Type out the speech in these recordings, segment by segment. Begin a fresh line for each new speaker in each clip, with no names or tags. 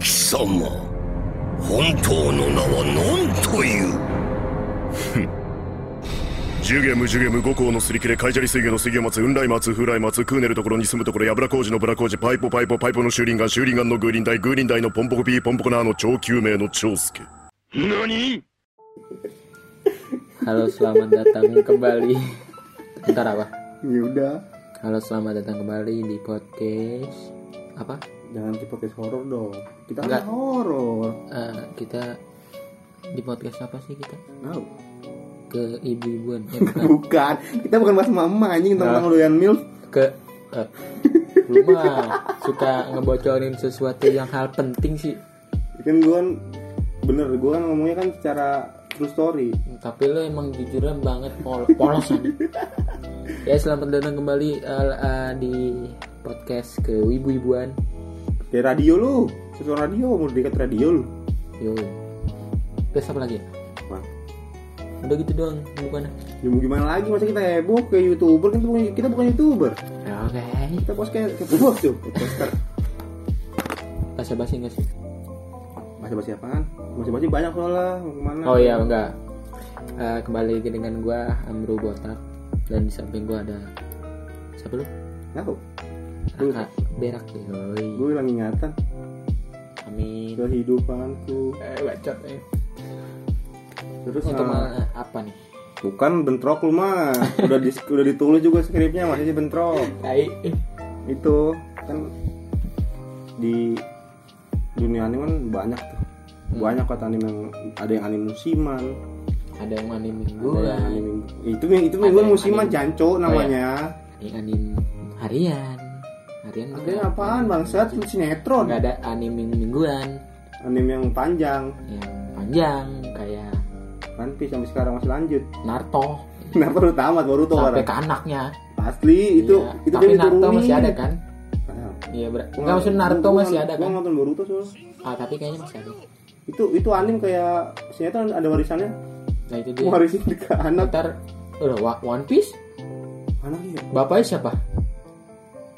様本当の名は何という
ジュゲムジュゲム五行のすり切れカイジャリ水魚の水魚松雲来松風来松クーネルところに住むところやぶら工事のブラ工事パイポパイポパイポの修林岩修林岩のグーリン大グーリン大のポンポコピーポンポコナーの超救命の長介
何
Halo, selamat datang kembali. Bentar apa?
Ya udah,
Halo, selamat datang kembali di podcast apa?
jangan di podcast horor dong. Kita
Enggak.
nggak horor.
Eh, kita di podcast apa sih kita?
Tahu?
Ke ibu-ibuan, eh, bukan.
Bukan. Kita bukan bahas mama anjing tentang ngeluyan milf.
Ke eh, lu mah suka ngebocorin sesuatu yang hal penting sih.
Kan gue kan bener, gue kan ngomongnya kan secara true story.
Tapi lu emang jujuran banget pol polosan. ya, selamat datang kembali eh, eh, di podcast ke ibu-ibuan.
Kayak radio lu, sesuatu radio, mau dekat radio lu.
Yo. Terus apa lagi? ya?
Wah,
Udah gitu doang, bukan?
ya mau gimana lagi masa kita heboh kayak youtuber kan kita bukan, kita bukan youtuber
Ya, Oke.
kita podcast kayak podcast tuh podcaster
Bahasa basi enggak sih?
bahasa bahasa apaan bahasa bahasa banyak soalnya mau kemana
Oh iya enggak. Eh, kembali lagi dengan gua Amru Botak dan di samping gua ada siapa lu?
tahu Lu.
Kakak Berak ya. Yoi.
gue hilang ingatan
Amin.
kehidupanku
Eh bacot eh.
terus
Untuk
nah,
mal- eh, apa nih?
bukan bentrok lu mah udah di, udah ditulis juga skripnya masih aja bentrok
Tai.
itu kan di dunia anime kan banyak tuh
Hmm.
banyak kata anime yang ada yang anime musiman
Ada yang mani
ada yang
mingguan,
anime itu itu mingguan
yang
musiman
anime- Oh, iya. Hmm.
janco namanya
ada yang anim harian. Harian
Ada
enggak.
yang apaan bangsat Itu sinetron
Enggak ada anime mingguan
anime yang panjang
yang panjang kayak
kan Piece sampai sekarang masih lanjut
Naruto
kenapa lu tamat baru tuh
sampai
orang
ke anaknya.
asli itu
Iya.
itu
Tapi
kan
Naruto
diturunin.
masih ada kan?
Nah,
Iya, ber-
gua
enggak
nggak-
maksud Naruto
gua- gua-
masih ada
gua
kan?
nonton Boruto soalnya
Ah, tapi kayaknya masih ada.
itu itu anime kayak sinetron ada warisannya
Nah, itu dia.
warisin ke anak
Ntar udah Wa- One Piece
anak iya
bapaknya siapa?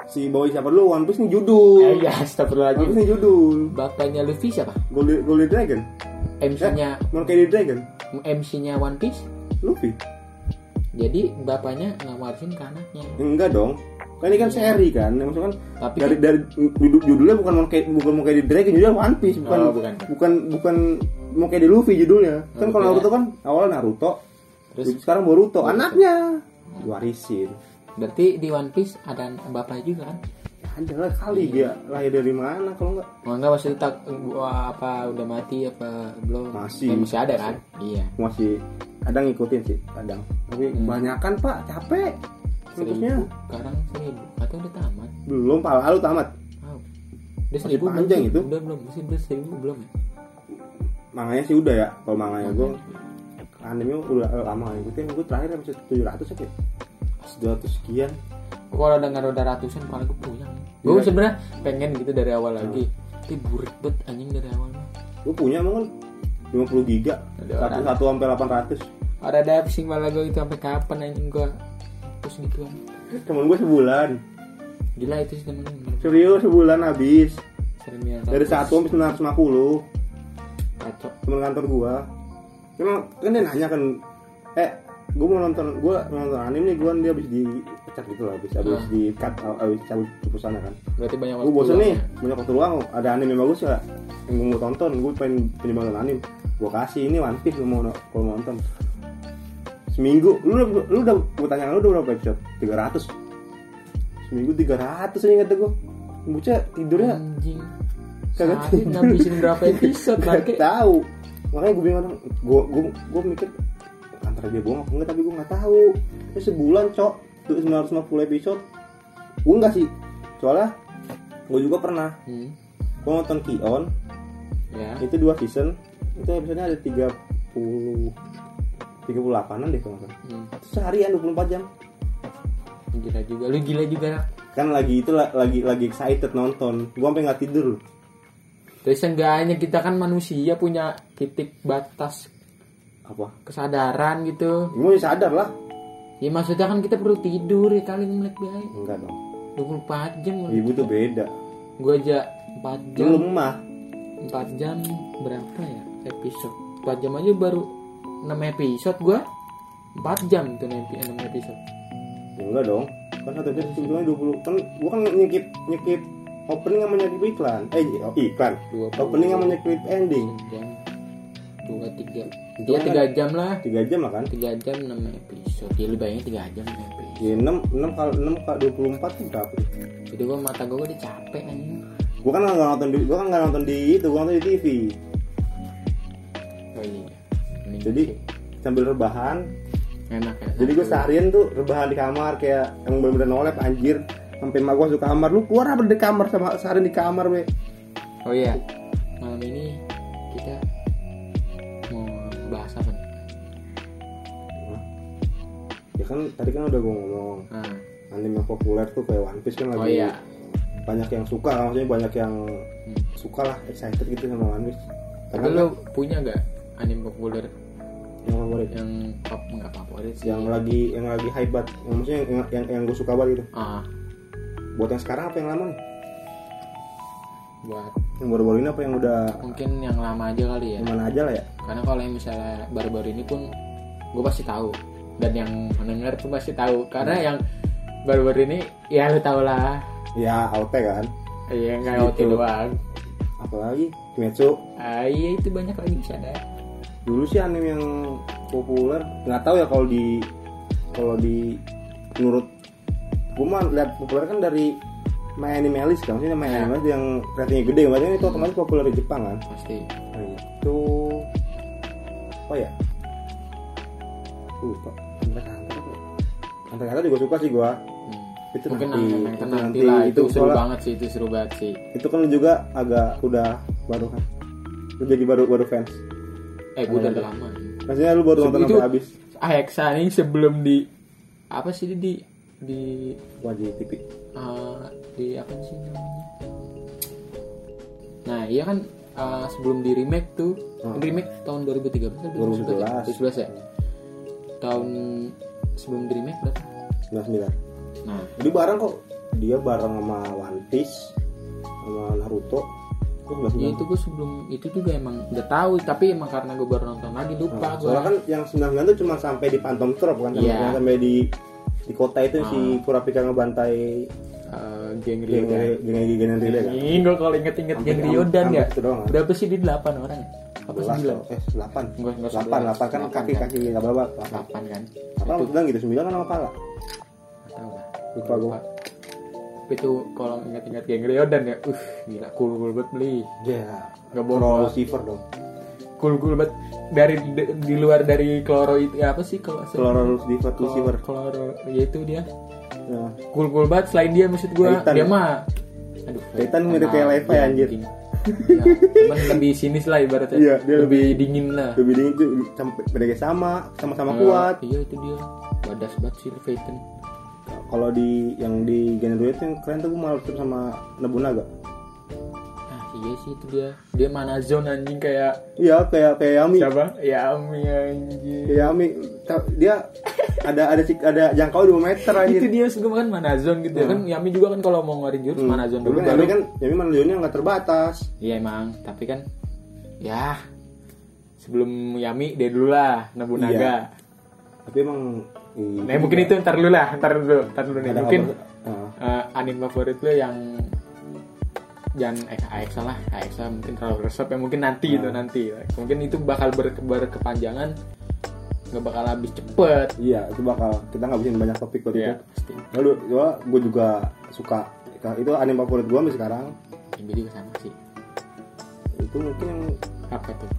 si boy siapa dulu One Piece nih judul
Eh, iya,
One Piece
astagfirullahaladzim.
nih judul
Bapaknya Luffy siapa?
Golden, Golden Dragon
MC-nya
Monkey D. Dragon
MC-nya One Piece.
Luffy
Jadi bapaknya ngawarisin ke anaknya.
enggak dong kan ini kan seri kan maksudnya kan
Tapi
dari dari judul- judulnya bukan Monkey bukan Monkey D. Dragon judulnya One Piece bukan
Oh, bukan.
bukan bukan Monkey D. Luffy judulnya kan
Naruto
kalau
ya.
Naruto kan awalnya Naruto
terus
sekarang Boruto anaknya warisin
berarti di One Piece ada bapaknya juga kan?
Ya, ada lah kali dia lahir dari mana kalau enggak
Oh, enggak maksudnya tak gua apa udah mati apa belum?
Masih.
Eh, masih ada kan? Iya.
masih kadang ngikutin sih kadang tapi kebanyakan pak capek
Seribu.
Maksudnya
Sekarang seribu. Atau udah tamat?
belum pala lu tamat
Oh. Udah seribu belum
panjang
sih?
itu.
Udah belum? Masih udah seribu belum ya?
manganya sih udah ya kalau manganya gue anime udah eh, lama ngikutin gue terakhir habis 700 apa ya 700 sekian
Gua kalau dengar udah ratusan paling gue punya gue
Iya.
sebenarnya pengen gitu dari awal lagi tapi burik bet anjing dari awal mah.
gue punya emang kan 50 giga
Ada
satu
orang.
satu sampai 800
ada diving malah gue itu sampai kapan anjing gue terus gitu kan
temen gue sebulan
gila itu sih temen
serius sebulan habis
sering bilang
dari satu sampai 950
kacau
temen kantor gua emang kan dia nanya kan eh gua mau nonton gua mau nonton anime nih gua kan dia habis dipecat gitu lah habis habis
Hmm.
di cut habis cabut ke sana kan
berarti banyak
gua bosen
luang
nih
ya.
banyak waktu luang ada anime yang bagus ya yang gua mau tonton gua pengen pengen banget anime gua kasih ini One Piece lu mau no- kalau mau nonton seminggu lu udah lu udah gua tanya lu udah berapa episode 300 seminggu 300 ini kata gua bocah tidurnya
anjing
Kagak
Sehari
tidur.
ngabisin berapa episode bangke
Gak Kan tahu. Makanya gue bingung gue gue gue mikir antara dia bohong apa enggak tapi gue nggak tahu. Terus sebulan cok tuh 950 episode. Gue enggak sih. Soalnya gue juga pernah
hmm.
gue nonton Kion
ya
itu dua season itu episodenya ada 30 38an deh kalau nggak salah.
hmm.
Itu Seharian 24 jam
gila juga lu gila juga Rak.
kan lagi itu la- lagi lagi excited nonton gue sampai nggak tidur loh
terus seenggaknya kita kan manusia punya titik batas
apa
kesadaran gitu
gue sadar lah
ya maksudnya kan kita perlu tidur ya kali melek baik
enggak dong
24 jam
Iya. ibu tuh beda
gue aja 4
dia
jam
lemah
4 jam berapa ya episode 4 jam aja baru 6 episode gua 4 jam tuh 6 episode
Ya enggak dong. Kan satu episode sebetulnya 20 kan gua kan nyekip nyekip opening sama nyekip iklan. Eh oh, iklan.
20.
Opening sama nyekip ending.
jam 2 3
Itu
ya 3
kan-
jam lah
3 jam lah kan.
3 jam 6 episode ya lebih banyak 3 jam 6 episode
Ya 6 6 kali 6 kali 24 itu berapa?
jadi gua mata gua udah capek anjing
Gua kan enggak nonton di gua kan enggak nonton di itu, gua nonton di TV.
oh iya Ini
Jadi sambil rebahan,
enak ya
jadi gua seharian tuh rebahan di kamar kayak yang bener-bener nolep anjir. Sampai emak gua masuk kamar, lu keluar apa dari kamar sama seharian di kamar, we.
oh iya malam ini kita mau bahas apa nih
Ya kan tadi kan udah gua ngomong
nah,
anime yang populer tuh kayak One Piece kan lagi
oh iya
banyak yang suka maksudnya banyak yang
Hmm.
suka lah excited gitu sama One Piece
Tapi lo punya gak anime populer
yang favorit
yang pop nggak favorit sih?
yang lagi yang lagi hype banget yang maksudnya yang yang, yang gue suka banget gitu
ah
buat yang sekarang apa yang lama nih
buat
yang baru-baru ini apa yang udah
mungkin yang lama aja kali ya.
yang mana aja lah ya
Karena kalau yang misalnya baru-baru ini pun gue pasti tahu dan yang mendengar pun pasti tahu karena
Hmm.
yang baru-baru ini ya lo tau lah
ya AOT kan
Iya nggak OT
Gitu.
doang.
apalagi Kimetsu
Ah, iya itu banyak lagi bisa ada.
dulu sih anime yang populer nggak tahu ya kalau di kalau di menurut gue mah lihat populer kan dari My Anime List kan maksudnya My Anime List yang ratingnya gede berarti itu otomatis populer di Jepang kan
Pasti.
Nah, itu apa ya? Lupa. Hunter x Hunter apa ya? Hunter x Hunter juga suka sih gua.
Hmm.
Itu
Mungkin
nanti,
nanti,
itu
nanti,
nanti,
lah
itu
itu, seru
soalnya-
banget sih itu seru banget sih.
Itu kan lu juga agak udah baru kan. Lu jadi baru baru fans.
Eh gue udah lama.
Maksudnya lu baru
Itu-
nonton sampai habis.
Ah Hexa ini sebelum di apa sih di di- di
Wajib TV.
eh, di apa sih namanya? Nah iya kan eh, sebelum di remake tuh
Hmm.
remake tahun 2013 atau
2011.
2011 ya tahun sebelum di remake berarti
99.
nah
Jadi bareng kok dia bareng sama One Piece sama Naruto. Kok
ya
99.
itu gue sebelum itu juga emang udah tahu tapi emang karena gue baru nonton lagi lupa gue
Soalnya kan yang 99 itu cuma sampai di Phantom Troop kan
Iya.
sampai, sampai di di kota itu si Kurapika ngebantai
eh, geng
geng
Ryodan
geng geng Rio kan
ini gue kalau inget-inget geng
Sampai-
Ryodan
sampai
ya
itu doang.
berapa sih di 8 orang ya? apa sih
sebelas
sembilan?
eh delapan
Enggak, enggak
delapan
sebelas.
delapan kan
Delapan,
kaki
kan?
kaki nggak berapa delapan
8 kan
apa
itu
bilang gitu sembilan kan sama kepala
Nggak tahu lah.
Lupa gua.
Tapi itu kalau ingat-ingat geng Ryodan ya, uh, gila cool cool banget beli.
ya
Iya. Nggak bohong
Pro
gua.
receiver dong
Cool cool banget dari di, di luar dari kloro itu ya apa sih kalau
Chloro receiver receiver
kloro ya itu dia.
Nah,
Cool cool banget selain dia maksud gua
Titan.
dia mah aduh
Titan ya? mirip kayak Levi,
iya,
anjir.
anjing. Ya, cuman lebih sinis lah ibaratnya.
Iya, dia
lebih dingin lah.
lebih dingin tuh sampai bedanya sama sama sama kuat
Iya itu dia. Badas banget sih Titan.
kalau di yang di Gen dua itu yang keren tuh gue malah terus sama Nebunaga
Ah iya sih itu dia. Dia mana zone anjing kayak
iya kayak kayak Yami
siapa? Ya Ami anjing.
kayak Yami Iya, Ta- dia ada ada cik- ada jangkauan dua meter anjir
itu dia juga kan manazon gitu ya kan Yami juga kan kalau mau ngeluarin jurus manazon dulu
Tapi
baru
kan Yami kan Yami manusianya nggak terbatas
iya emang tapi kan ya sebelum Yami dia dulu lah Nobunaga
tapi emang i-
nah
iya.
mungkin itu ntar dulu lah ntar dulu ntar dulu nih
ada
mungkin
kabar- Ah.
eh, anime favorit lo yang jangan eh, AX lah AX lah mungkin terlalu resep ya mungkin nanti itu nanti mungkin itu bakal ber- berkepanjangan nggak bakal habis cepet
Iya, itu bakal kita nggak bisa banyak topik buat
Iya,
itu.
pasti
Lalu gua gue juga suka itu anime favorit gue sampai sekarang
ini juga sama sih
itu mungkin yang
apa tuh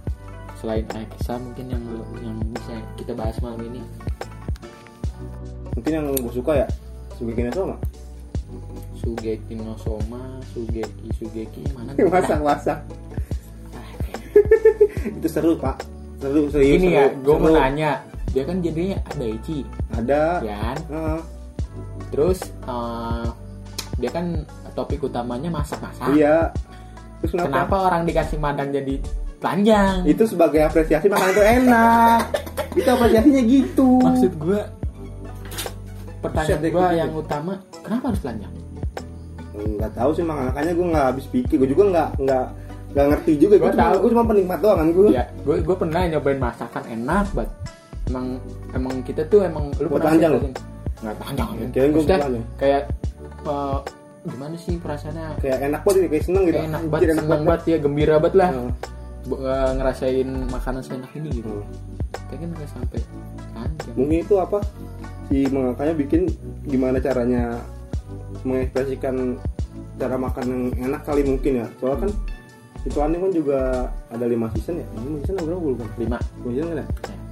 selain Aixa mungkin yang yang bisa kita bahas malam ini
mungkin yang gue suka ya Sugeki no Soma.
Sugeki no Soma Sugeki Sugeki mana tuh? Ah,
Masak masak. itu seru pak. Seru serius.
ini ya
seru,
gue mau
seru.
nanya dia kan jadinya Daichi
Ada. Ah,
ya kan
Heeh.
terus eh, dia kan topik utamanya masak-masak
iya. Terus
kenapa?
kenapa?
orang dikasih madang jadi telanjang
Itu sebagai apresiasi makanan itu enak. itu apresiasinya gitu.
maksud gue pertanyaan
Buset deh,
gue
gitu.
yang utama kenapa harus telanjang
nggak tahu sih makanya gue nggak habis pikir gue juga nggak nggak Gak ngerti juga,
Gua
gue cuma,
tahu.
gua cuma penikmat doang kan gue.
ya gue gue pernah nyobain masakan enak banget emang emang kita tuh emang lu
Buat panjang
sih,
lu?
nggak panjang ya
Kirain gua
Maksudnya,
panjang.
kayak eh, gimana sih perasaannya
Kayak enak banget, kayak seneng gitu.
enak
Anjir,
banget seneng banget ya gembira banget lah
Nah,
Bu- eh, ngerasain makanan seenak ini gitu
Hmm.
kayak kan nggak sampai panjang
Mungkin itu apa? Si mengangkatnya bikin gimana caranya mengekspresikan cara makan yang enak kali mungkin ya. Soalnya kan itu anime kan juga ada lima season ya. Lima season apa berapa gue lupa.
lima
Lima season kan ya?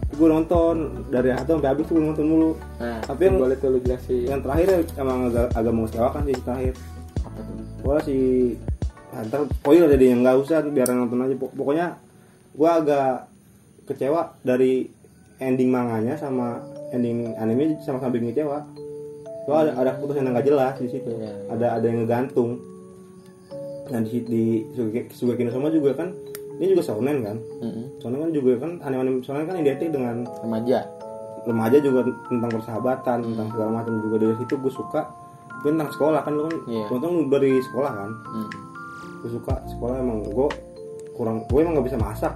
Gue nonton dari satu sampai habis gue nonton mulu.
nah
Tapi
tapi
yang-
boleh tuh lu jelasin
Yang terakhir ya, emang agak, agak mengecewakan sih terakhir.
apa tuh
Wah si nah, ntar spoiler jadi yang nggak usah biar nonton aja Pok- pokoknya gua agak kecewa dari ending manganya sama ending anime sama-sama bikin kecewa Soalnya ada, ada putus yang nggak jelas di situ
Iya.
ada ada yang ngegantung nah di situ- di Suge- Sugekino sama juga kan ini juga shonen kan
Mm-mm.
shonen kan juga kan anime-anime shonen kan identik dengan
hmm. remaja
remaja juga tentang persahabatan
Hmm.
tentang segala macam juga dari situ gue suka gue tentang sekolah kan lu kan
Iya.
nonton lu dari sekolah kan
Mm.
gue suka sekolah emang gue kurang gue emang gak bisa masak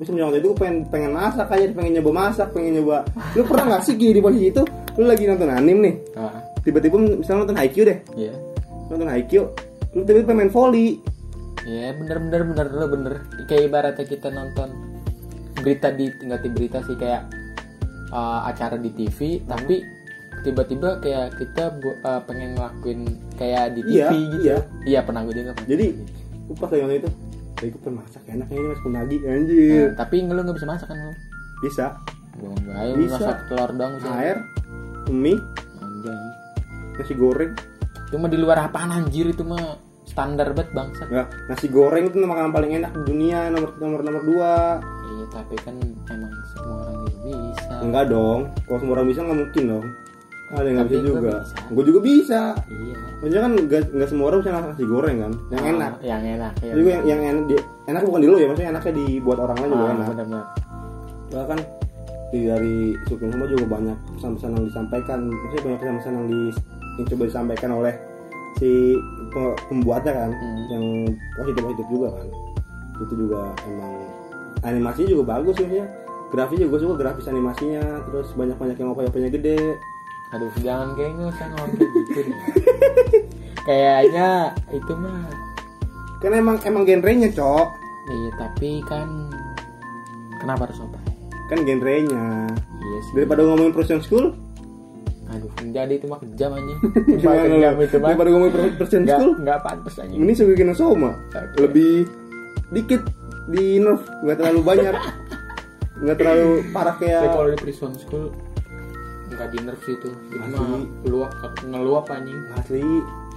gue semenjak waktu itu gue pengen pengen masak aja pengen nyoba masak pengen nyoba lu pernah gak sih Gi, di posisi itu lu lagi nonton anime nih
ah
tiba-tiba misalnya nonton Haikyuu deh
iya
nonton Haikyuu lu tiba-tiba pengen main volley
Iya bener bener bener lo bener kayak ibaratnya kita nonton berita di nggak di berita sih kayak uh, acara di TV tapi tiba-tiba kayak kita bu- uh, pengen ngelakuin kayak di TV
Iya,
gitu
iya.
iya pernah gue juga pernah.
jadi gue pas lagi nonton itu Tapi gue pengen masak enak ini mas punagi
Nah,
anjir
tapi lu nggak bisa masak kan lu
bisa
gue nggak ayo
Bisa.
masak telur doang bisa
air mie
Anjay.
nasi goreng
cuma di luar apaan anjir itu mah standar banget bangsat
Nah, nasi goreng itu makanan paling enak di dunia nomor nomor nomor dua
iya tapi kan emang semua orang juga bisa
Enggak dong, kalau semua orang bisa nggak mungkin dong. Ada yang nggak bisa
Tapi gua
juga.
bisa.
Gue juga bisa.
iya
Maksudnya kan nggak nggak semua orang bisa masak nasi goreng kan, yang
Ah,
enak.
yang enak iya.
Jadi gua yang, yang enak, di- enak bukan di lu ya, maksudnya enaknya dibuat orang lain juga
Ah,
enak.
benar-benar
Soalnya kan di dari Sukin semua juga banyak pesan-pesan yang disampaikan, maksudnya banyak pesan-pesan yang, di, yang coba disampaikan oleh si pe- pembuatnya kan,
Hmm.
yang positif-positif juga kan. Itu juga emang animasinya juga bagus maksudnya. Grafisnya gue suka grafis animasinya, terus banyak-banyak yang opa-opanya gede.
Aduh, jangan kayak nggak usah ngomong kayak gitu nih. Kayaknya itu mah.
Kan emang emang genrenya, Cok.
Iya, tapi kan kenapa harus opai?
Kan genrenya.
Iya sih.
Daripada ngomongin Persian School,
Aduh, jadi itu mah kejam anjing.
gimana
Cuma
lu?
kejam itu mah.
Daripada ngomongin Per- Persian
Nggak
School,
nggak pantas anjing.
ini Sugeki no Soma.
Oke.
Lebih dikit di nerf, nggak terlalu banyak. nggak terlalu parah
Tapi
kayak
kalau di prison school nggak di nerf sih itu. Itu
Asli.
mah luap ngeluap anjing.
asli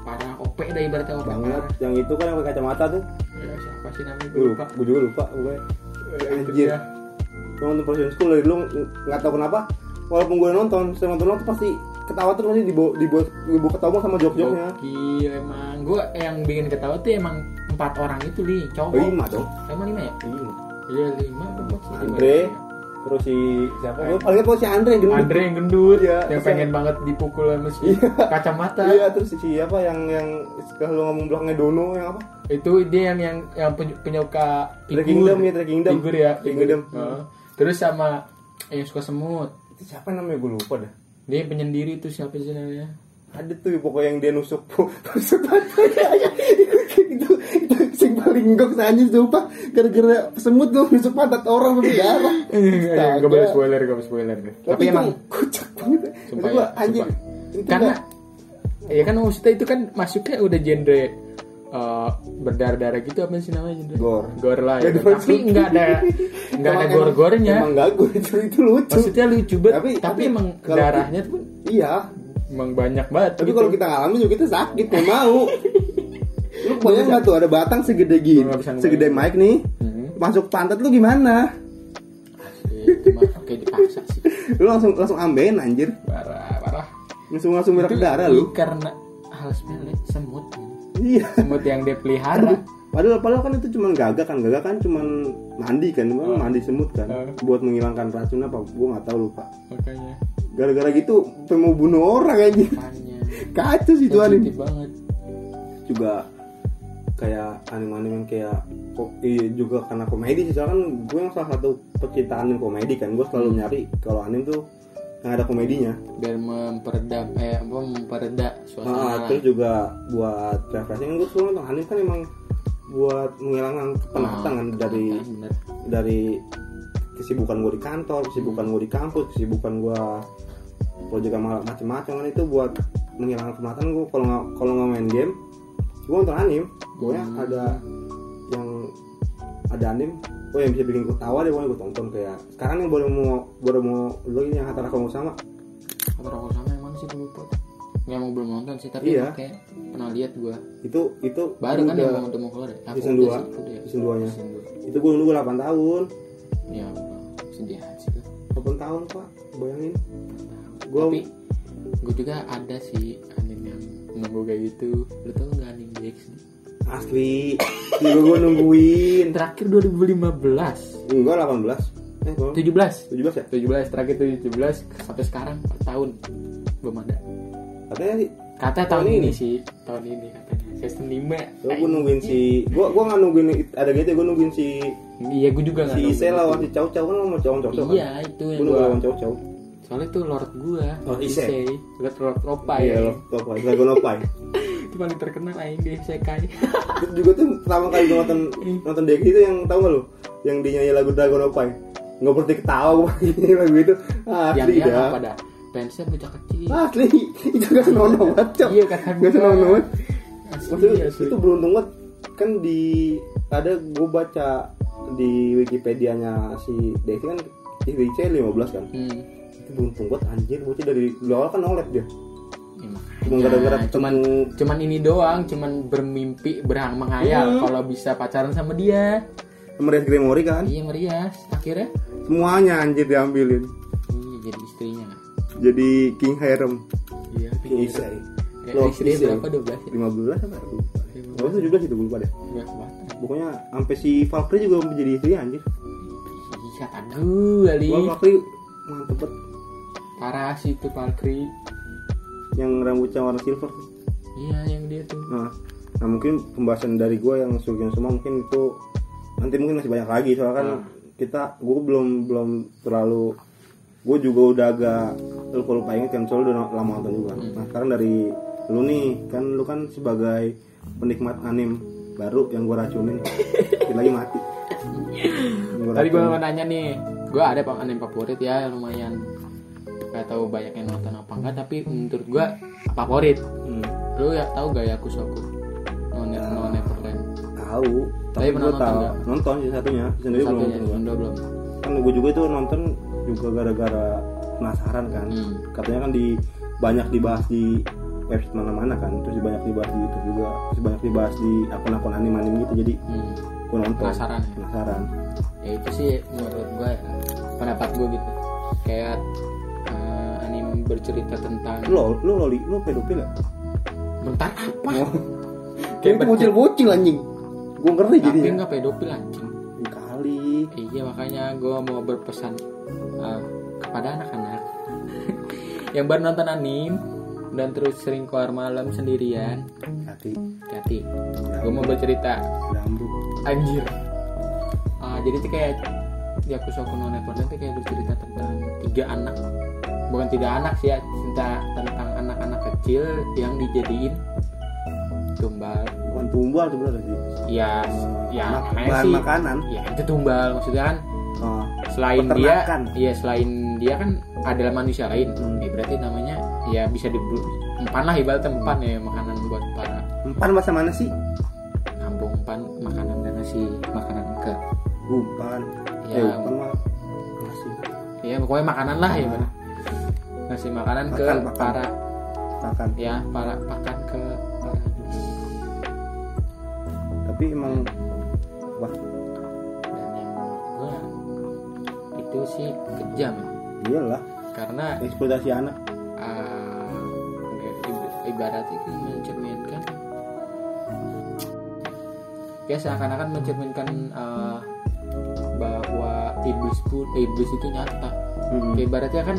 Parah OP dah ibaratnya OP
banget.
parah.
Yang itu kan yang pakai kacamata tuh.
Ya, siapa sih namanya? Gua
Gue
Lupa.
lupa, gue juga lupa gue.
Eh, itu
Anjir.
dia.
Gua Nonton Persian School dari dulu nggak tahu kenapa. Walaupun gue nonton, saya nonton nonton pasti ketawa terus pasti dibawa dibawa, dibawa ketawa sama jok-joknya.
Gokil emang. Gue yang bikin ketawa tuh emang empat orang itu li cowok.
Oh, Lima dong.
Emang lima ya?
Iya.
Iya lima apa maksudnya?
Andre terus si siapa gue paling ingat pokoknya si Andre yang gendut
Eh. Andre yang gendut
Iya,
yang
terus
pengen
yang-
banget dipukul sama si kacamata
iya terus si siapa yang yang kalau ngomong belakangnya Dono yang apa
itu dia yang yang yang penyu- penyuka
Drag
figur
Kingdom ya, Drag Kingdom.
figur ya
Drag
figur.
Kingdom.
Heeh. terus sama yang suka semut
itu siapa namanya gue lupa dah
dia yang penyendiri tuh siapa sih namanya
ada tuh pokoknya yang dia nusuk nusuk pantat aja. itu itu sing paling gok anjir sumpah gara-gara semut tuh nusuk pantat orang berdarah
Iya, Aduh, gak boleh spoiler gak boleh spoiler tapi
itu
emang
kocak banget
Sumpah
Maksud gua,
ya,
anjir
sumpah.
itu
karena
nggak-
ya kan maksudnya itu kan masuknya udah genre eh, berdarah-darah gitu apa sih namanya genre?
Gor.
Gor lah ya.
Gak ada-
Tapi nggak ada nggak ada
Emang-
gor-gornya.
emang nggak gue itu itu lucu
Maksudnya lucu banget. Tapi, emang
kalau-
darahnya tuh
iya
emang banyak banget.
Tapi
gitu.
kalau kita ngalamin juga kita sakit, mau mau. lu kebayang nggak tuh ada batang segede gini,
Gua nggak bisa ngebayang.
segede mic nih,
Mhm.
masuk pantat lu gimana?
itu mah kayak dipaksa sih.
Lu langsung langsung ambein anjir,
Parah, parah.
langsung langsung merah
Itu
ke darah
lebih
lu.
Karena hal sepele semut.
Iya.
Semut yang dia pelihara.
Padahal padahal kan itu cuman gagak kan, gagak kan cuman mandi kan, cuman mandi semut kan,
Oh.
buat menghilangkan racun apa? Gua nggak tahu lupa.
Makanya
Gara-gara gitu sampai mau bunuh orang anjir.
panjang.
Kacau sih tuh anjing.
Sensitif banget.
Juga kayak anime-anime yang kayak ko- iya, juga karena komedi sih soalnya kan gue yang salah satu pecinta anime komedi kan gue selalu nyari kalau anime tuh yang ada komedinya
biar memperedam eh apa mempereda
Nah,
suasana
terus juga buat refreshing gue suka nonton anime kan emang buat menghilangkan penatan kan dari
bener
dari kesibukan gue di kantor, kesibukan gue di kampus, kesibukan gue proyek sama macam-macam kan itu buat menghilangkan penatan gue kalau nggak kalau nggak main game gue nonton anime pokoknya
Hmm.
ada yang ada anime gue yang bisa bikin gue tawa deh pokoknya gue tonton kayak sekarang yang baru mau baru mau lu ini yang Hataraku no sama
apa rokok sama emang sih gue lupa nggak mau belum nonton sih tapi
Iya.
emang kayak pernah lihat gue
itu itu
baru kan yang
udah-
mau udah mau keluar ya Aku
season
udah
dua.
sih, udah.
Season duanya.
Season dua.
itu gue dulu 8 tahun
ya Allah, sedih aja sih tuh
8 tahun pak bayangin Gua-
tapi gue juga ada sih anime yang nunggu kayak gitu lu tau nggak anime DxD
asli juga gue nungguin
terakhir 2015
enggak 18 eh kalau
17
17 ya
17 terakhir 17 sampai sekarang per tahun belum ada
katanya sih
kata
Tahun
tahun ini
ini. Oh,
sih tahun ini katanya season 5
gue nungguin si gue gue nggak nungguin ada gitu gue nungguin si
iya gue juga nggak
si
nunggu
Ise
itu.
lawan si Chow Chow kan mau cowok cowok kan
iya itu
gue
yang
nunggu
gua
lawan Chow Chow
soalnya itu lord gua
Lord Oh, Ise.
lord lord opa
iya
ya
lo apa Dragon Opai
itu paling terkenal aing di isekai
terus juga tuh pertama kali gue nonton nonton Deki itu yang tau gak lo yang dinyanyi lagu Dragon Opai nggak berhenti ketawa gue ini lagu itu
yang
asli
dia
dah Ah,
apa dah fansnya bocah kecil
asli itu gak senonoh banget Cok.
Iya, kata
gak
gua.
senonoh banget
Asli,
Maksudnya
asli.
itu beruntung banget kan di ada gue baca di Wikipedia-nya si Devi kan IWC 15 kan
hmm.
itu beruntung banget anjir bocah dari dulu awal kan oled dia
Ya, makanya.
cuma gara-gara
cuman
ketemu
cuman ini doang cuman bermimpi berang
Hmm.
menghayal kalau bisa pacaran sama dia
sama Red Grimory kan
iya merias akhirnya
semuanya anjir diambilin
iya jadi istrinya
jadi King Harem
iya
King Isai
Eh,
Lord
istri
Ise.
berapa 12 ya
15 apa ya? Lupa. Berapa 17 itu gue lupa deh
Berapa banget?
pokoknya sampai si Valkyrie juga menjadi istri anjir
Iya. Ih, kata gue li
Wah, Valkyrie mantep banget
parah sih itu Valkyrie
yang rambutnya warna silver
iya yang dia tuh
Nah, nah mungkin pembahasan dari gue yang surgen semua mungkin itu nanti mungkin masih banyak lagi soalnya
Nah.
kan kita gue belum belum terlalu gue juga udah agak lupa lupa inget kan soalnya udah lama nonton juga.
Hmm.
Nah sekarang dari lu nih kan lu kan sebagai penikmat anim baru yang gue racunin Dikit lagi mati. Yang gua
Tadi gue
racunin.
mau nanya nih, gue ada pak anime favorit ya lumayan gak tahu banyak yang nonton apa enggak tapi menurut gue favorit.
Hmm,
Lu ya tahu gak ya aku soku? No Ne- No Neverland.
tahu
Tapi pernah
tapi gue
nonton
tahu
nggak?
nonton sih satunya sendiri Iya, belum
Satunya
nonton gua.
Indo belum.
kan gue juga itu nonton juga gara-gara penasaran kan
Hmm.
katanya kan di banyak dibahas di website mana-mana kan terus banyak dibahas di YouTube juga terus banyak dibahas di akun-akun anime anime gitu jadi
Hmm.
gue nonton
Penasaran ya?
penasaran
Ya itu sih menurut gue pendapat gue gitu. Kayak eh, anime bercerita tentang
lo lo loli lo pedofil ya
bentar apa?
kayak bocil-bocil anjing gue ngeri
Tapi
jadinya
nggak pedofil anjing.
kali
Iya makanya gue mau berpesan uh, kepada anak-anak yang baru nonton anim dan terus sering keluar malam sendirian,
hati
hati. Gue mau bercerita
dambu
anjir. Ah, jadi itu kayak di aku suka nonton itu kayak bercerita tentang tiga anak bukan tiga anak sih ya cinta tentang anak-anak kecil yang dijadiin tumbal
bukan tumbal tuh bener sih
ya ya
Mak-
namanya
bahan
sih
makanan
ya itu tumbal maksudnya kan
Ah,
selain dia
Peternakan.
iya selain dia kan adalah manusia lain
Hmm.
Ya, berarti namanya ya bisa di empan lah ibaratnya empan ya makanan buat para
empan bahasa mana sih
kampung empan makanan dan nasi makanan ke
umpan
Ya.
eh umpan mah masih
ya
iya.
pokoknya makanan lah ya benar nasi makanan ke
Makan, makan.
para
makan
ya para pakan ke para
tapi emang wah
dan yang gua itu sih kejam ya.
iyalah
karena
eksploitasi anak
eh, ib- ibaratnya kan Ah, mencerminkan ya seakan-akan mencerminkan eh, bahwa iblis pun iblis itu nyata
Mhm.
Kayak ibaratnya kan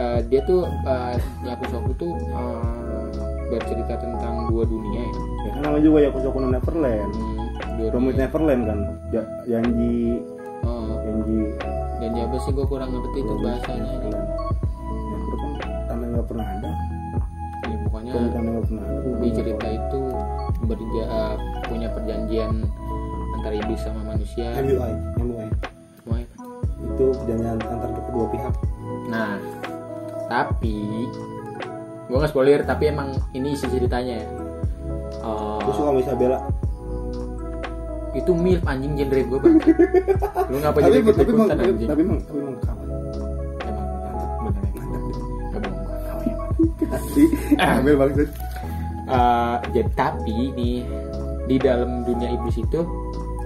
eh, dia tuh eh, Yakusoku tuh eh, bercerita ah, tentang dua dunia ya Hmm,
ya kan namanya juga Yakusoku no Neverland
Di-
Promise Neverland kan ja, janji
Oh,
janji
dan ya apa sih gue kurang ngerti itu bahasanya ini.
Neverland ya itu kan tanah nggak pernah ada
Ya, pokoknya
Kalau tanah nggak pernah ada
di cerita itu berja eh, punya perjanjian antara iblis sama manusia.
MUI MUI
Why?
itu perjanjian antar kedua pihak
Nah, tapi gue nggak spoiler tapi emang ini isi ceritanya ya. Eh,
Gue suka sama Isabella
itu milf anjing genre gue banget. Lu ngapa
tapi
jadi
tapi
gitu
tapi emang
ikutan
tapi
anjing?
tapi emang tapi emang kawan
Emang mantap, bener ya, mantap. Gak bohong gua.
kasih
Ah,
ambil banget
Eh, jadi tapi nih di dalam dunia iblis itu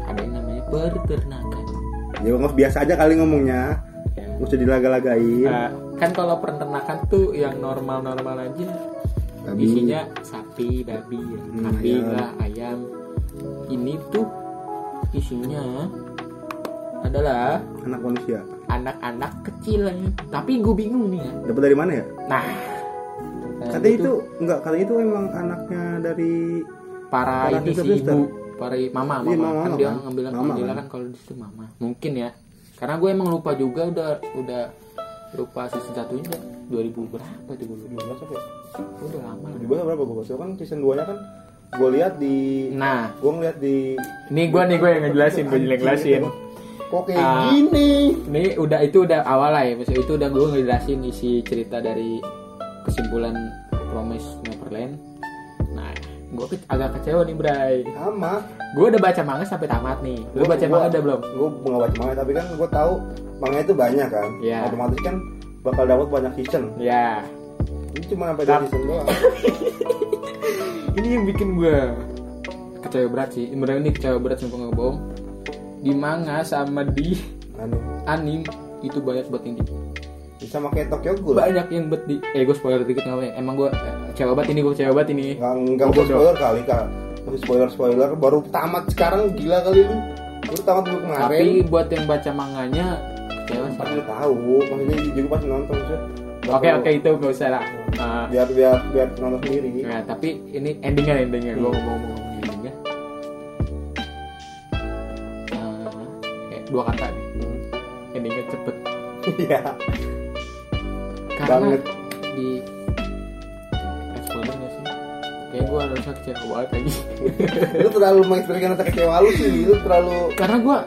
ada yang namanya peternakan.
ya nggak biasa aja kali ngomongnya
Ya.
nggak usah dilaga-lagain
Eh, kan kalau peternakan tuh yang normal-normal aja
Babi.
isinya sapi, babi, ya.
Hmm,
kambing
ayam.
lah, ayam. Ini tuh isinya adalah
anak manusia
anak-anak kecil ya. Tapi gue bingung nih ya.
dapat dari mana ya
Nah, eh,
katanya itu nggak katanya itu emang anaknya dari
para
Para
ini si
sister, sister.
ibu para i- mama mama,
Iya, mama,
kan
mama
dia
kan?
ngambil
Mama
ngambil
kan?
kan kalau di situ mama mungkin ya karena gue emang lupa juga udah udah lupa season satunya udah 2000 berapa tuh gue lupa
ya?
udah lama lah.
di bawah berapa gue so, kan season 2 nya kan gue lihat di
nah
gue ngeliat di
ini gue nih gue yang ngejelasin gue yang ngejelasin
kok kayak
Ah.
gini
ini udah itu udah awal lah ya maksudnya itu udah gue ngejelasin isi cerita dari kesimpulan Promise Neverland nah gue ke- agak kecewa nih Bray
sama
gue udah baca manga sampai tamat nih lu baca manga udah belum
gue nggak baca manga tapi kan gue tahu manga itu banyak kan
Iya.
otomatis kan bakal dapat banyak season
ya
ini cuma sampai
Tap.
dari season doang
ini yang bikin gue kecewa berat sih beneran ini kecewa berat sumpah nggak bohong di manga sama di
anu
anime itu banyak banget yang di
bisa pakai Tokyo Ghoul
banyak yang bet di eh gue spoiler dikit nggak apa ya emang gue kecewa banget ini gue kecewa banget ini
nggak nggak mau spoiler kali kak Masih spoiler spoiler baru tamat sekarang gila kali lu baru tamat dulu kemarin
tapi buat yang baca manganya ya, kecewa sih.
pasti Ya, tahu maksudnya juga pas nonton sih
oke oke itu gak usah lah Ah,
Nah. biar biar biar nonton sendiri
Nah, tapi ini endingnya endingnya gue ngomong ngomong ngomong endingnya. Eh, eh, dua kata nih. Endingnya cepet.
Hmm. iya
Karena
Banget.
di eh, spoiler nggak sih? Kayak gue harusnya kecewa banget lagi.
lu terlalu mengekspresikan rasa kecewa lu sih lu terlalu
Karena gue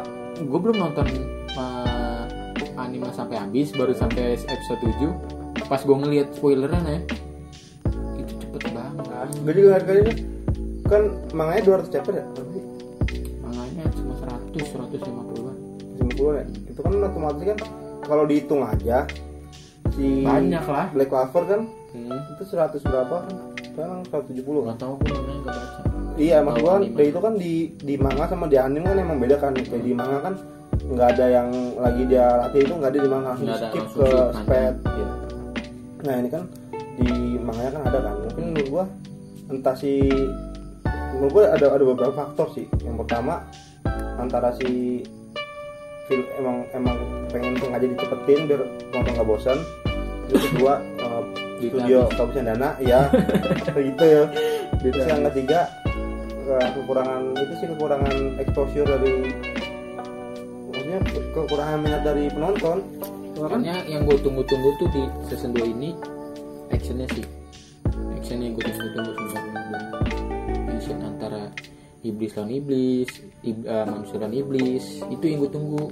gue belum nonton eh, anime sampai habis, baru sampai episode 7 Pas gue ngeliat spoilernya ya, itu cepet banget.
gue Nah, juga ngerti kali ini kan manganya 200 chapter ya
Manganya cuma 100 150-an.
50 ya itu kan otomatis kan kalau dihitung aja si
Banyak lah.
Black Clover kan
Hmm.
itu 100 berapa kan sekarang 170 kan
Gak tau gue namanya gak baca
Iya, maksud
Tahu
gua kan
anime.
dari itu kan di di manga sama di anime kan emang beda kan. Kayak di manga kan nggak ada yang lagi dia latih itu nggak ada di manga langsung
Nggak ada
skip
langsung
ke
skip,
sped.
panjang. Iya.
Nah ini kan di manga kan ada kan. Mungkin menurut gua entah si menurut gua ada ada beberapa faktor sih. Yang pertama antara si film emang emang pengen sengaja dicepetin biar nonton nggak bosan. Terus kedua eh, studio kehabisan dana, ya gitu ya. Terus yang ketiga eh, kekurangan itu sih kekurangan exposure dari maksudnya kekurangan minat dari penonton. Karena
Makanya yang gue tunggu-tunggu tuh di season 2 ini actionnya sih actionnya yang gue tunggu-tunggu sumpah. action antara iblis lawan iblis ib- eh, manusia lawan iblis itu yang gue tunggu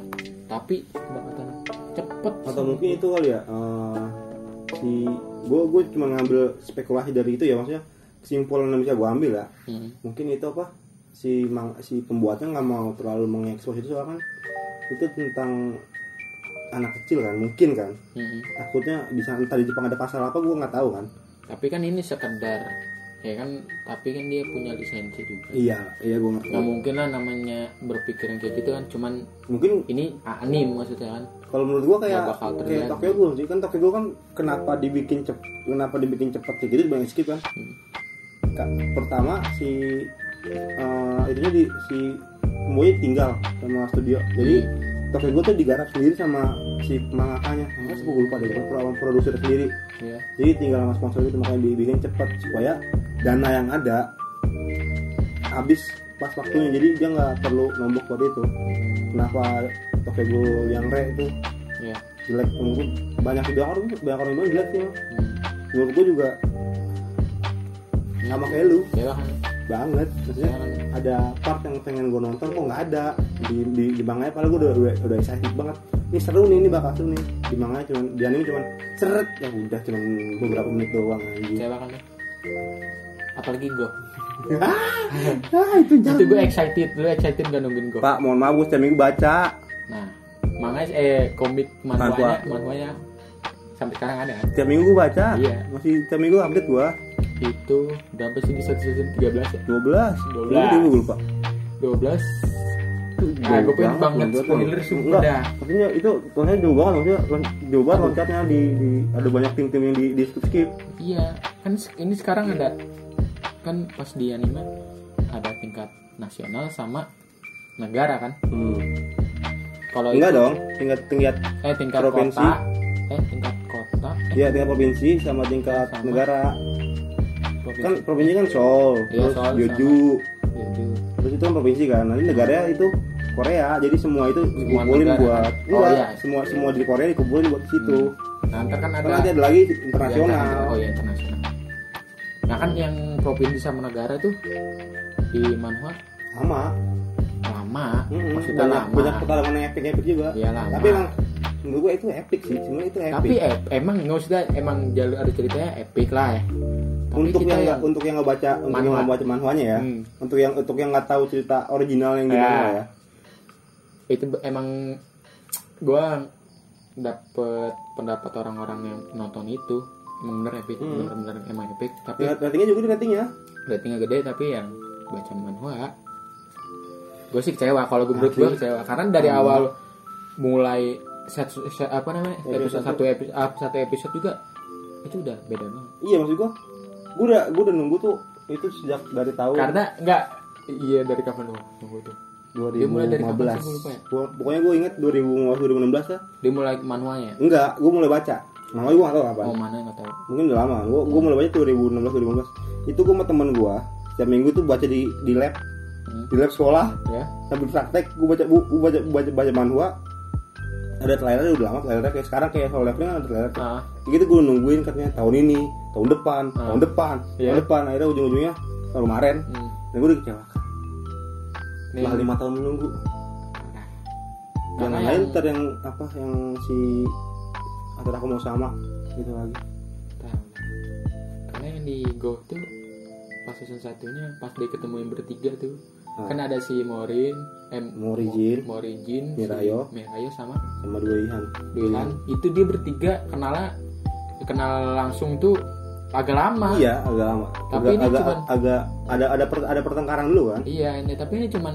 tapi kebangetan cepet
atau mungkin itu kali ya eh, si gue gue cuma ngambil spekulasi dari itu ya maksudnya kesimpulan yang bisa gue ambil ya
Hmm.
mungkin itu apa si mang, si pembuatnya nggak mau terlalu mengekspos itu soalnya kan itu tentang anak kecil kan mungkin kan
Hmm.
takutnya bisa entah di Jepang ada pasal apa gue nggak tahu kan
tapi kan ini sekedar ya kan tapi kan dia punya lisensi juga
iya iya gue ngerti
nggak mungkin lah namanya berpikiran kayak gitu kan cuman
mungkin
ini anim maksudnya kan
kalau menurut gue kayak
Nggak bakal
kayak
terlihat.
Tokyo Ghoul sih kan Tokyo Ghoul kan kenapa dibikin cep kenapa dibikin cepet kayak gitu banyak skip kan
Hmm.
Ka- pertama si eh itunya di si Moe tinggal sama studio jadi
Hmm.
Tokyo Ghoul tuh digarap sendiri sama si mangakanya sama hmm. lupa deh pro- produser sendiri
ya
gitu, jadi tinggal sama sponsor itu makanya dibikin cepet supaya dana yang ada habis pas waktunya jadi dia nggak perlu nombok buat itu kenapa Tokyo yang re itu
ya
jelek mungkin banyak video orang banyak orang bilang jelek sih menurut gue juga nggak kayak lu
ya kan
banget maksudnya ada part yang pengen gue nonton kok nggak ada di di, di manganya padahal gue udah, udah udah excited banget ini seru nih ini bakal seru nih di manganya cuman di anime cuman seret ya udah cuman beberapa menit doang anjing
kecewa kan ya. apalagi gue
ah itu
itu gue
jangan
excited lu excited gak nungguin gue
pak mohon maaf gue setiap minggu baca
nah manganya eh komik
Manhwa.
manhwanya manhwanya sampai sekarang ada kan
setiap minggu gue baca
Iya.
masih setiap minggu update gue
itu berapa sih di satu season 13 ya
12 belas
12.
gue lupa
12 Ah, gue pengen banget spoiler sumpah Hmm.
Enggak,
dah.
Maksudnya itu soalnya jauh banget maksudnya lon- jauh banget loncatnya di, di ada banyak tim-tim yang di, di skip skip.
Iya, kan se- ini sekarang ada kan pas di anime ada tingkat nasional sama negara kan. Kalau
Enggak
itu-
dong, tingkat tingkat
eh tingkat
provinsi.
kota, eh tingkat kota, eh,
ya tingkat provinsi sama tingkat
Sama.
negara.
provinsi.
Kan provinsi kan Seoul,
Iya,
terus
Seoul
Jeju,
Jadi,
terus itu kan provinsi kan. Nah, ini negaranya itu Korea, jadi semua itu dikumpulin
negara.
buat
Oh,
enggak,
iya.
semua semua di Korea dikumpulin buat situ.
nah, ntar kan ada
Karena nanti ada lagi
yang-
internasional.
Oh ya internasional. Nah kan yang provinsi sama negara tuh di manhwa
Sama.
lama,
Mm-mm,
maksudnya
banyak,
lama.
banyak pengalaman yang epic-epic juga.
Iya, lama.
Tapi emang menurut gue itu epic sih, cuma itu epic.
Tapi eh, emang nggak maksudnya emang jalur ada ceritanya epic lah ya. Tapi
untuk
kita
yang nggak untuk yang nggak baca untuk yang
Manhwa.
nggak baca manhwanya ya,
Hmm.
untuk yang untuk yang nggak tahu cerita original yang
Ya.
gimana ya.
itu be- emang gua dapet pendapat orang-orang yang nonton itu emang bener epic
Hmm.
bener-bener emang epic tapi
Tingkat Ya, ratingnya juga di ratingnya.
ratingnya gede tapi yang baca manhwa gue sih kecewa kalau gue menurut gue
Asli.
kecewa karena dari
Sama.
awal mulai set, set- apa namanya episode
Episode
satu episode satu episode juga itu udah beda banget
Iya maksud gue, gue udah gue udah nunggu tuh itu sejak dari tahun
karena enggak Oh. iya dari kapan lu nunggu tuh dia mulai dari kapan sih, gua lupa ya?
2015. Gua, pokoknya gue inget 2015 2016 ya.
dia mulai manhwanya
Enggak, gue mulai baca. Makanya gue nggak tahu apa.
oh mana nggak tahu
Mungkin udah lama. Gue gue mulai baca 2016 2015. Itu gue sama temen gue setiap minggu tuh baca di di lab
Hmm.
di lab sekolah
ya
sambil praktek gue baca bu gue baca baca baca manhwa ada trailernya udah lama trailernya kayak sekarang kayak Soul Leveling kan ada trailer
ah
gitu gue nungguin katanya tahun ini tahun depan
Ah.
tahun depan
Iya.
tahun depan akhirnya ujung-ujungnya tahun kemarin
hmm.
dan gue dikecewakan
Nih,
setelah lima tahun menunggu yang
Iya. Karena
lain
yang-
ter yang apa yang si antara aku mau sama gitu lagi
Tahu. Karena yang di Go tuh pas season satunya pas dia ketemu yang bertiga tuh
Ah.
kan ada si Morin, eh,
Morijin.
Mo- Morijin,
Mirayo.
si Mirayo sama
sama dua Ihan
Dylan. Itu dia bertiga kenal kenal langsung tuh agak lama.
iya agak lama
Tapi
agak
ini
agak,
cuman-
agak ada ada per- ada pertengkaran dulu kan
Iya, ini tapi ini cuman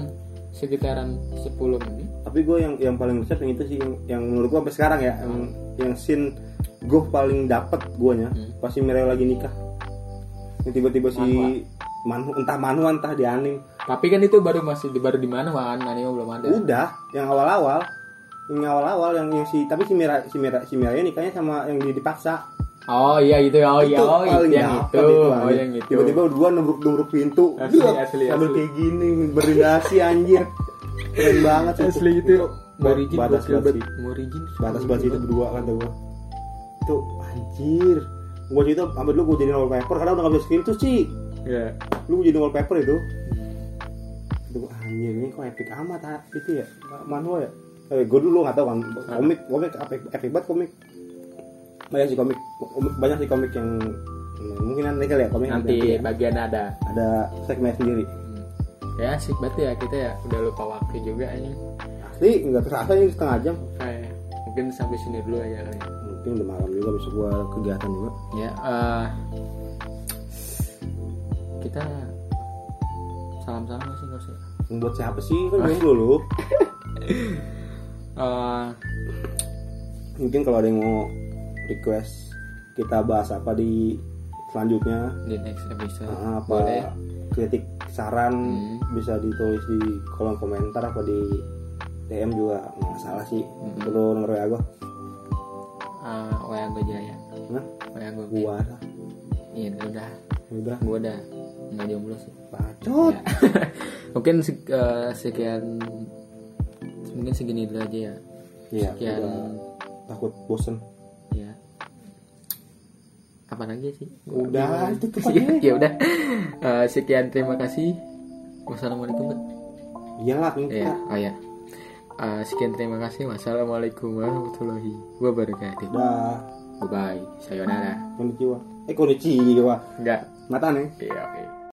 sekitaran 10 menit.
tapi gue yang yang paling besar yang itu sih yang, yang menurut gue sampai sekarang ya yang yang scene gue paling dapet guanya
Hmm.
pas si Mireo lagi nikah yang tiba-tiba si
Manhwa.
Manhu entah Manhu entah di anime
Tapi kan itu baru masih di baru di mana kan anime belum ada.
udah yang awal-awal yang awal-awal yang, yang si tapi si Mira si Mira si Mireo nikahnya sama yang di- dipaksa
Oh iya itu oh iya oh itu
paling
yang
dapet
itu. Oh
anjing.
yang itu.
tiba-tiba dua nubruk-nubruk pintu
Asli,
Duh,
asli,
sambil
asli.
kayak gini berdasi anjir keren banget sumpah.
asli itu Morijin
batas
gokil
banget
banget.
sih.
Morijin
batas batas itu berdua kata gua itu anjir gua itu ambil dulu gua jadi wallpaper karena udah gak bisa screen tuh sih
Iya.
lu jadi wallpaper itu itu gua anjir ini kok epic amat ha? itu ya manual ya eh, gua dulu nggak tahu kan komik komik epic, epic banget komik banyak sih komik komik- banyak sih komik yang hmm, mungkin nanti kali ya komik
nanti
nanti ya.
bagian ada
ada segmen sendiri
ya asik banget ya kita ya udah lupa waktu juga ini
asli nggak terasa ini setengah jam
kayak mungkin sampai sini dulu aja kali ya.
mungkin udah malam juga besok gua kegiatan juga
ya eh, kita salam salam sih nggak usah
buat siapa sih kan jomblo lu
Eh,
mungkin kalau ada yang mau request kita bahas apa di selanjutnya
di next episode
nah, apa
boleh
kritik saran
Hmm.
bisa ditulis di kolom komentar apa di DM juga nggak masalah sih
Hmm.
perlu nomor WA gue
Eh, wa gue jaya
nah
wa gue
gua
iya udah
udah
gue udah nggak jomblo sih Ya.
bacot
mungkin se- eh, sekian mungkin segini dulu aja ya
iya
Sekian.
udah takut bosen
ya apa lagi sih Gua
udah
bingung.
tutup
ya,
aja
ya udah Eh, sekian terima kasih wassalamualaikum Mbak.
iyalah pintar
ya oh ya Eh, sekian terima kasih wassalamualaikum warahmatullahi wabarakatuh
udah
bye bye sayonara
konnichiwa eh konnichiwa
enggak
mata nih
iya oke